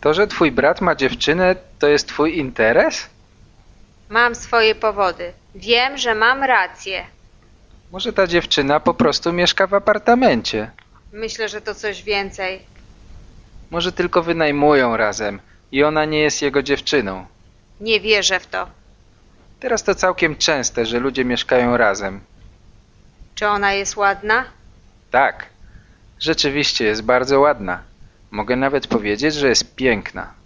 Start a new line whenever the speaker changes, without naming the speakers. To, że twój brat ma dziewczynę, to jest twój interes?
Mam swoje powody. Wiem, że mam rację.
Może ta dziewczyna po prostu mieszka w apartamencie.
Myślę, że to coś więcej.
Może tylko wynajmują razem i ona nie jest jego dziewczyną.
Nie wierzę w to.
Teraz to całkiem częste, że ludzie mieszkają razem.
Czy ona jest ładna?
Tak, rzeczywiście jest bardzo ładna. Mogę nawet powiedzieć, że jest piękna.